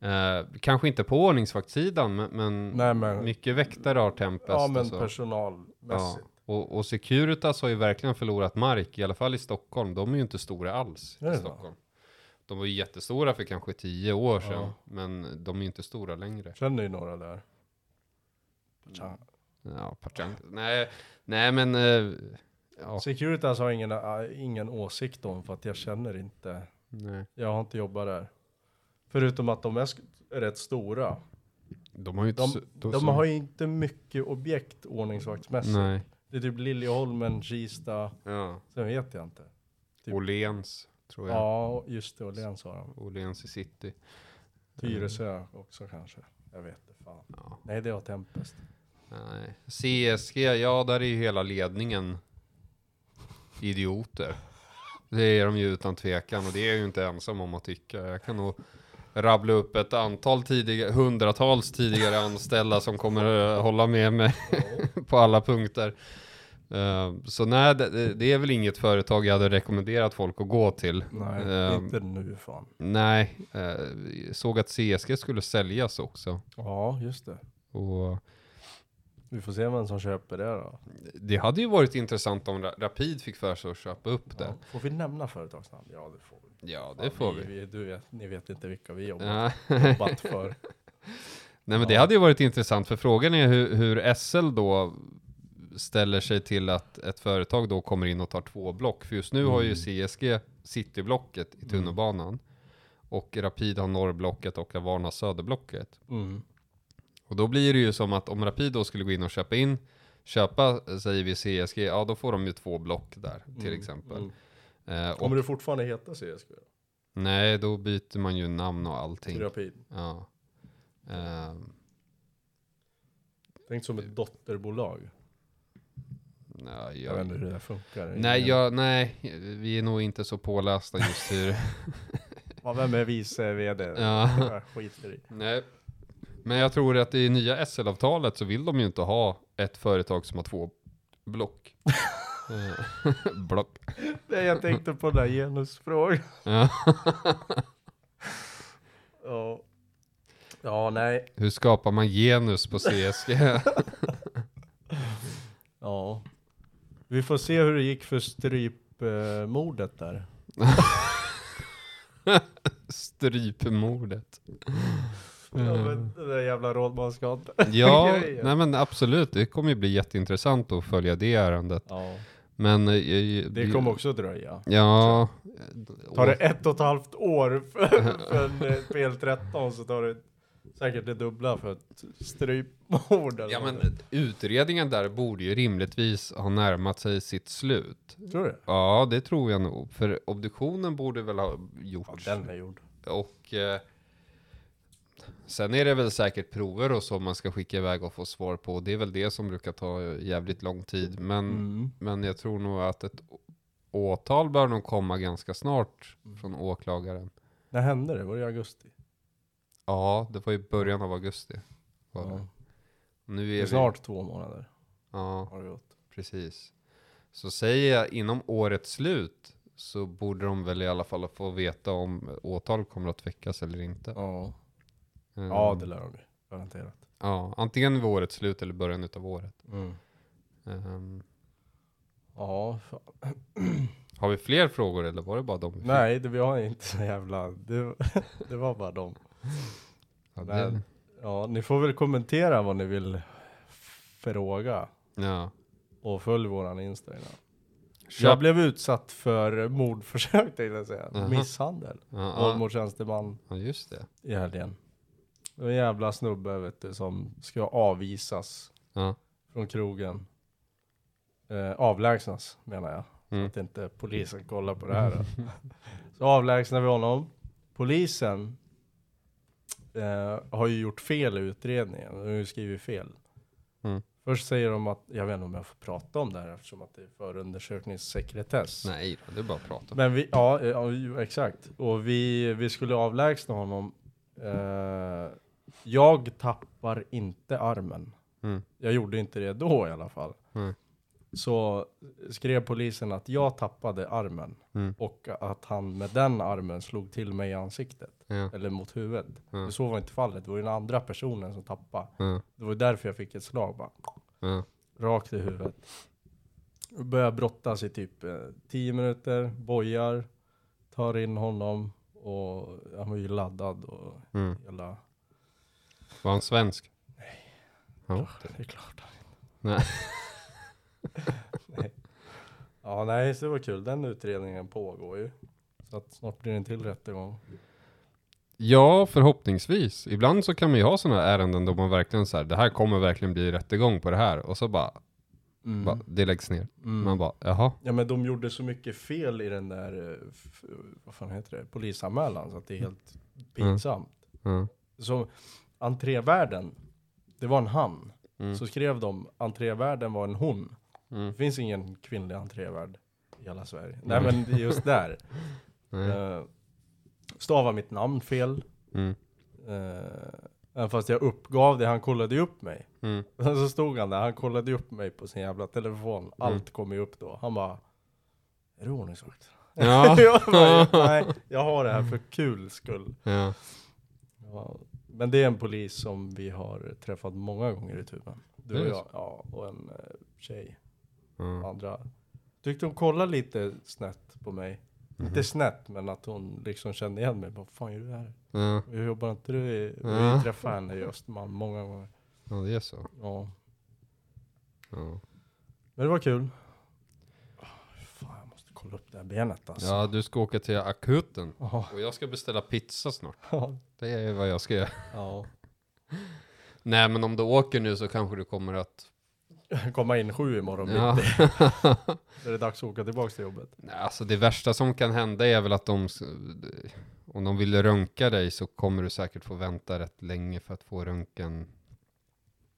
Speaker 2: Eh, kanske inte på ordningsvaktssidan, men, men
Speaker 1: Nej men,
Speaker 2: Mycket väktare har Tempest.
Speaker 1: ja, men
Speaker 2: alltså. ja.
Speaker 1: personalmässigt.
Speaker 2: och, och Securitas har ju verkligen förlorat mark, i alla fall i Stockholm. De är ju inte stora alls
Speaker 1: Är
Speaker 2: i
Speaker 1: det
Speaker 2: Stockholm. De var ju jättestora för kanske tio år
Speaker 1: Ja.
Speaker 2: sedan, men de är ju inte stora längre.
Speaker 1: Känner ju några där.
Speaker 2: Mm,
Speaker 1: Tja.
Speaker 2: Ja, Partang. Nej, nej, men eh, ja,
Speaker 1: Securitas har ingen, äh, ingen åsikt om för att jag känner inte
Speaker 2: nej.
Speaker 1: Jag har inte jobbat där. Förutom att de är sk- är rätt stora.
Speaker 2: De har ju inte...
Speaker 1: De-
Speaker 2: så-
Speaker 1: De
Speaker 2: så-
Speaker 1: har ju inte mycket objekt ordningsvaktsmässigt.
Speaker 2: Nej.
Speaker 1: Det är typ Liljeholmen, Kista,
Speaker 2: Ja.
Speaker 1: sen vet jag inte. Typ.
Speaker 2: Åhléns, tror jag.
Speaker 1: Ja, just det, Åhléns har de.
Speaker 2: Åhléns i city.
Speaker 1: Tyresö också kanske. Jag vet inte fan.
Speaker 2: Ja.
Speaker 1: Nej, det var Tempest.
Speaker 2: Nej. CSG, ja där är ju hela ledningen idioter. Det är de ju utan tvekan och det är jag ju inte ensam om att tycka. Jag kan nog rabbla upp ett antal tidigare, hundratals tidigare anställda som kommer eh, hålla med mig på alla punkter. Eh, Så nej, det, det är väl inget företag jag hade rekommenderat folk att gå till.
Speaker 1: Nej,
Speaker 2: Ehm.
Speaker 1: inte nu fan.
Speaker 2: Nej, eh, såg att CSG skulle säljas också.
Speaker 1: Ja, just det.
Speaker 2: Och
Speaker 1: Vi får se vem som köper det då.
Speaker 2: Det hade ju varit intressant om Ra- Rapid fick för sig att köpa upp det.
Speaker 1: Ja. Får vi nämna företagsnamn? Ja, det får vi.
Speaker 2: Ja, det
Speaker 1: Fan,
Speaker 2: får vi.
Speaker 1: du vet, ni vet inte vilka vi jobbat,
Speaker 2: Ja.
Speaker 1: jobbat för.
Speaker 2: Nej, men det hade ju varit intressant, för frågan är hur, hur SL då ställer sig till att ett företag då kommer in och tar två block. För just nu har ju CSG Cityblocket i tunnelbanan. Och Rapid har Norrblocket och Avarn har Söderblocket.
Speaker 1: Mm.
Speaker 2: Och då blir det ju som att om Rapid då skulle gå in och köpa in, köpa, eh, säger vi CSG, ja då får de ju två block där till
Speaker 1: Mm,
Speaker 2: exempel.
Speaker 1: mm.
Speaker 2: Eh, och,
Speaker 1: Kommer det fortfarande heta CSG?
Speaker 2: Nej, då byter man ju namn och
Speaker 1: Till
Speaker 2: allting.
Speaker 1: Rapid?
Speaker 2: Ja. Ehm,
Speaker 1: Tänk
Speaker 2: Eh.
Speaker 1: som ett dotterbolag.
Speaker 2: nej,
Speaker 1: Jag vet inte
Speaker 2: jag,
Speaker 1: hur det funkar.
Speaker 2: nej, jag, nej, vi är nog inte så pålästa just hur...
Speaker 1: Ja, vem är vice vd?
Speaker 2: ja,
Speaker 1: Jag skiter i.
Speaker 2: nej. Men jag tror att i nya SL-avtalet så vill de ju inte ha ett företag som har två block. Eh, block.
Speaker 1: Nej, jag tänkte på den där genusfrågan.
Speaker 2: Ja.
Speaker 1: Ja. ja, nej.
Speaker 2: Hur skapar man genus på CSG?
Speaker 1: Ja. Vi får se hur det gick för strypmordet där.
Speaker 2: Strypmordet. Mm.
Speaker 1: Ja, men den där jävla rådmansgatan.
Speaker 2: Ja,
Speaker 1: grejer.
Speaker 2: nej men absolut. Det kommer ju bli jätteintressant att följa det ärendet.
Speaker 1: Ja.
Speaker 2: Men... eh, eh,
Speaker 1: Det kommer också dröja.
Speaker 2: Ja.
Speaker 1: Tar det ett och ett halvt år för, för en eh, PL13 så tar det säkert det dubbla för ett strypmord. eller
Speaker 2: Ja
Speaker 1: något.
Speaker 2: men utredningen där borde ju rimligtvis ha närmat sig sitt slut.
Speaker 1: Tror du det?
Speaker 2: Ja, det tror jag nog. För obduktionen borde väl ha
Speaker 1: Ja,
Speaker 2: gjorts.
Speaker 1: den är gjord.
Speaker 2: Och eh, sen är det väl säkert prover och så man ska skicka iväg och få svar på. Det är väl det som brukar ta jävligt lång tid. Men,
Speaker 1: Mm.
Speaker 2: men jag tror nog att ett å- åtal bör nog komma ganska snart
Speaker 1: Mm.
Speaker 2: från åklagaren.
Speaker 1: När hände det? Var det i augusti?
Speaker 2: Ja, det var i början av augusti. Var det.
Speaker 1: Ja.
Speaker 2: Nu
Speaker 1: Det
Speaker 2: är
Speaker 1: är
Speaker 2: vi,
Speaker 1: snart två månader
Speaker 2: Ja,
Speaker 1: har det gått.
Speaker 2: precis. Så säger jag inom årets slut så borde de väl i alla fall få veta om åtal kommer att väckas eller inte.
Speaker 1: Ja,
Speaker 2: Ehm,
Speaker 1: ja det lär de bli. Garanterat.
Speaker 2: Ja, antingen vid årets slut eller början utav året.
Speaker 1: Mm.
Speaker 2: Ehm,
Speaker 1: Ja, fan.
Speaker 2: har vi fler frågor eller var det bara de vi fick?
Speaker 1: nej det, vi har inte så jävla... Det, det var bara dem.
Speaker 2: Ja,
Speaker 1: nej.
Speaker 2: det,
Speaker 1: Ja, ni får väl kommentera vad ni vill fråga.
Speaker 2: ja.
Speaker 1: Och följ våran Instagram. Jag
Speaker 2: Köp,
Speaker 1: blev utsatt för mordförsök tänkte jag säga.
Speaker 2: Jaha.
Speaker 1: Misshandel.
Speaker 2: Mhm. ja,
Speaker 1: Våld
Speaker 2: ja,
Speaker 1: mot tjänsteman
Speaker 2: ja, just det.
Speaker 1: i helgen. Det var en jävla snubbe vet du som ska avvisas
Speaker 2: Ja.
Speaker 1: från krogen. Eh, avlägsnas menar jag.
Speaker 2: Mm.
Speaker 1: Så att inte polisen kollar på det här. Då. Så avlägsnar vi honom. Polisen eh, har ju gjort fel i utredningen. De har ju skrivit fel.
Speaker 2: Mm.
Speaker 1: Först säger de att, jag vet inte om jag får prata om det här eftersom att det är förundersökningssekretess.
Speaker 2: Nej, då, det är bara att prata.
Speaker 1: Men vi, ja, eh, ja ju, exakt. Och vi, vi skulle avlägsna honom. Eh, jag tappar inte armen.
Speaker 2: Mm.
Speaker 1: Jag gjorde inte det då i alla fall.
Speaker 2: Nej.
Speaker 1: Så skrev polisen att jag tappade armen
Speaker 2: Mm.
Speaker 1: och att han med den armen slog till mig i ansiktet
Speaker 2: Ja,
Speaker 1: eller mot huvudet.
Speaker 2: Ja.
Speaker 1: Men Så var inte fallet. Det var ju den andra personen som tappade.
Speaker 2: ja,
Speaker 1: Det var ju därför jag fick ett slag bara
Speaker 2: ja,
Speaker 1: rakt i huvudet. Börjar brottas i typ 10 minuter, bojar, tar in honom och han var ju laddad och
Speaker 2: mm.
Speaker 1: hela...
Speaker 2: Var han svensk? Nej. Ja.
Speaker 1: Det är klart han inte.
Speaker 2: Nej.
Speaker 1: nej. Ja, nej, så det var kul. Den utredningen pågår ju. Så att snart blir det en till rättegång.
Speaker 2: ja, förhoppningsvis. Ibland så kan man ju ha sådana ärenden då man verkligen så här, det här kommer verkligen bli rättegång på det här. Och så bara, bara det läggs ner.
Speaker 1: Mm.
Speaker 2: Man bara, jaha.
Speaker 1: Ja men de gjorde så mycket fel i den där, eh, f- vad fan heter det, polisanmälan så att det är helt pinsamt.
Speaker 2: Ja. mm,
Speaker 1: Så entrévärden, det var en han.
Speaker 2: Mm.
Speaker 1: Så skrev de entrévärden var en hon.
Speaker 2: Mm.
Speaker 1: Det finns ingen kvinnlig entrévärd i hela Sverige. Nej men det är just där.
Speaker 2: Nej.
Speaker 1: Eh, Stava mitt namn fel.
Speaker 2: Mm.
Speaker 1: Eh, Även fast jag uppgav det, han kollade ju upp mig.
Speaker 2: Mm.
Speaker 1: Sen så stod han där, han kollade ju upp mig på sin jävla
Speaker 2: Mm.
Speaker 1: telefon. Allt kom ju upp då. Han bara, är du ordningsvakt?
Speaker 2: Ja. Mm.
Speaker 1: jag bara, nej, jag har det här för kul skull.
Speaker 2: ja.
Speaker 1: Ja, men det är en polis som vi har träffat många gånger i tuben.
Speaker 2: Det
Speaker 1: Du
Speaker 2: är
Speaker 1: och
Speaker 2: så?
Speaker 1: jag. Ja, och en eh, tjej.
Speaker 2: ja.
Speaker 1: Andra. Tyckte hon kollade lite snett på mig.
Speaker 2: Mhm.
Speaker 1: Inte snett, men att hon liksom kände igen mig. Vad fan gör du här?
Speaker 2: ja.
Speaker 1: Hur jobbar inte du? i-
Speaker 2: Ja.
Speaker 1: Vi träffade henne i Östermalm många gånger.
Speaker 2: ja det är så.
Speaker 1: Ja.
Speaker 2: Ja.
Speaker 1: Men det var kul. Ah, Fan, jag måste kolla upp det här benet alltså.
Speaker 2: Ja, du ska åka till akuten.
Speaker 1: Ja.
Speaker 2: Och jag ska beställa pizza snart.
Speaker 1: Ja.
Speaker 2: Det är vad jag ska göra.
Speaker 1: ja.
Speaker 2: Nej, men om du åker nu så kanske du kommer att...
Speaker 1: Komma in sju imorgon
Speaker 2: Ja.
Speaker 1: bitti. Då är det dags att åka tillbaka till jobbet.
Speaker 2: Nej, alltså det värsta som kan hända är väl att de... s- Om de vill röntga dig så kommer du säkert få vänta rätt länge för att få röntgen.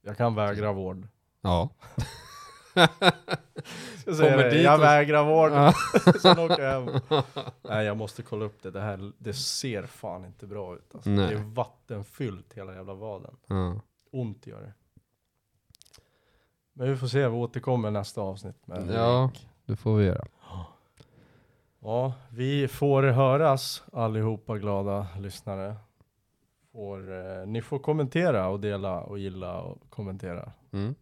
Speaker 1: Jag kan vägra vård.
Speaker 2: Ja.
Speaker 1: Jag, säger
Speaker 2: Kommer
Speaker 1: det,
Speaker 2: dit
Speaker 1: jag
Speaker 2: och-
Speaker 1: vägrar vård.
Speaker 2: Ja.
Speaker 1: Sen åker jag hem. Nej, jag måste kolla upp det. Det här det ser fan inte bra ut. Alltså.
Speaker 2: Nej.
Speaker 1: Det är vattenfyllt hela jävla vaden.
Speaker 2: ja.
Speaker 1: Ont gör det. Men vi får se, vi återkommer nästa avsnitt. Med hur
Speaker 2: Ja.
Speaker 1: det gick.
Speaker 2: Det får vi göra.
Speaker 1: ja, vi får höras allihopa glada lyssnare. Får, eh, ni får kommentera och dela och gilla och kommentera.
Speaker 2: Mm.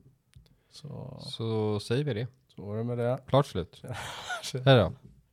Speaker 1: Så,
Speaker 2: Så säger vi det.
Speaker 1: så var det med det.
Speaker 2: Klart slut. Hej då.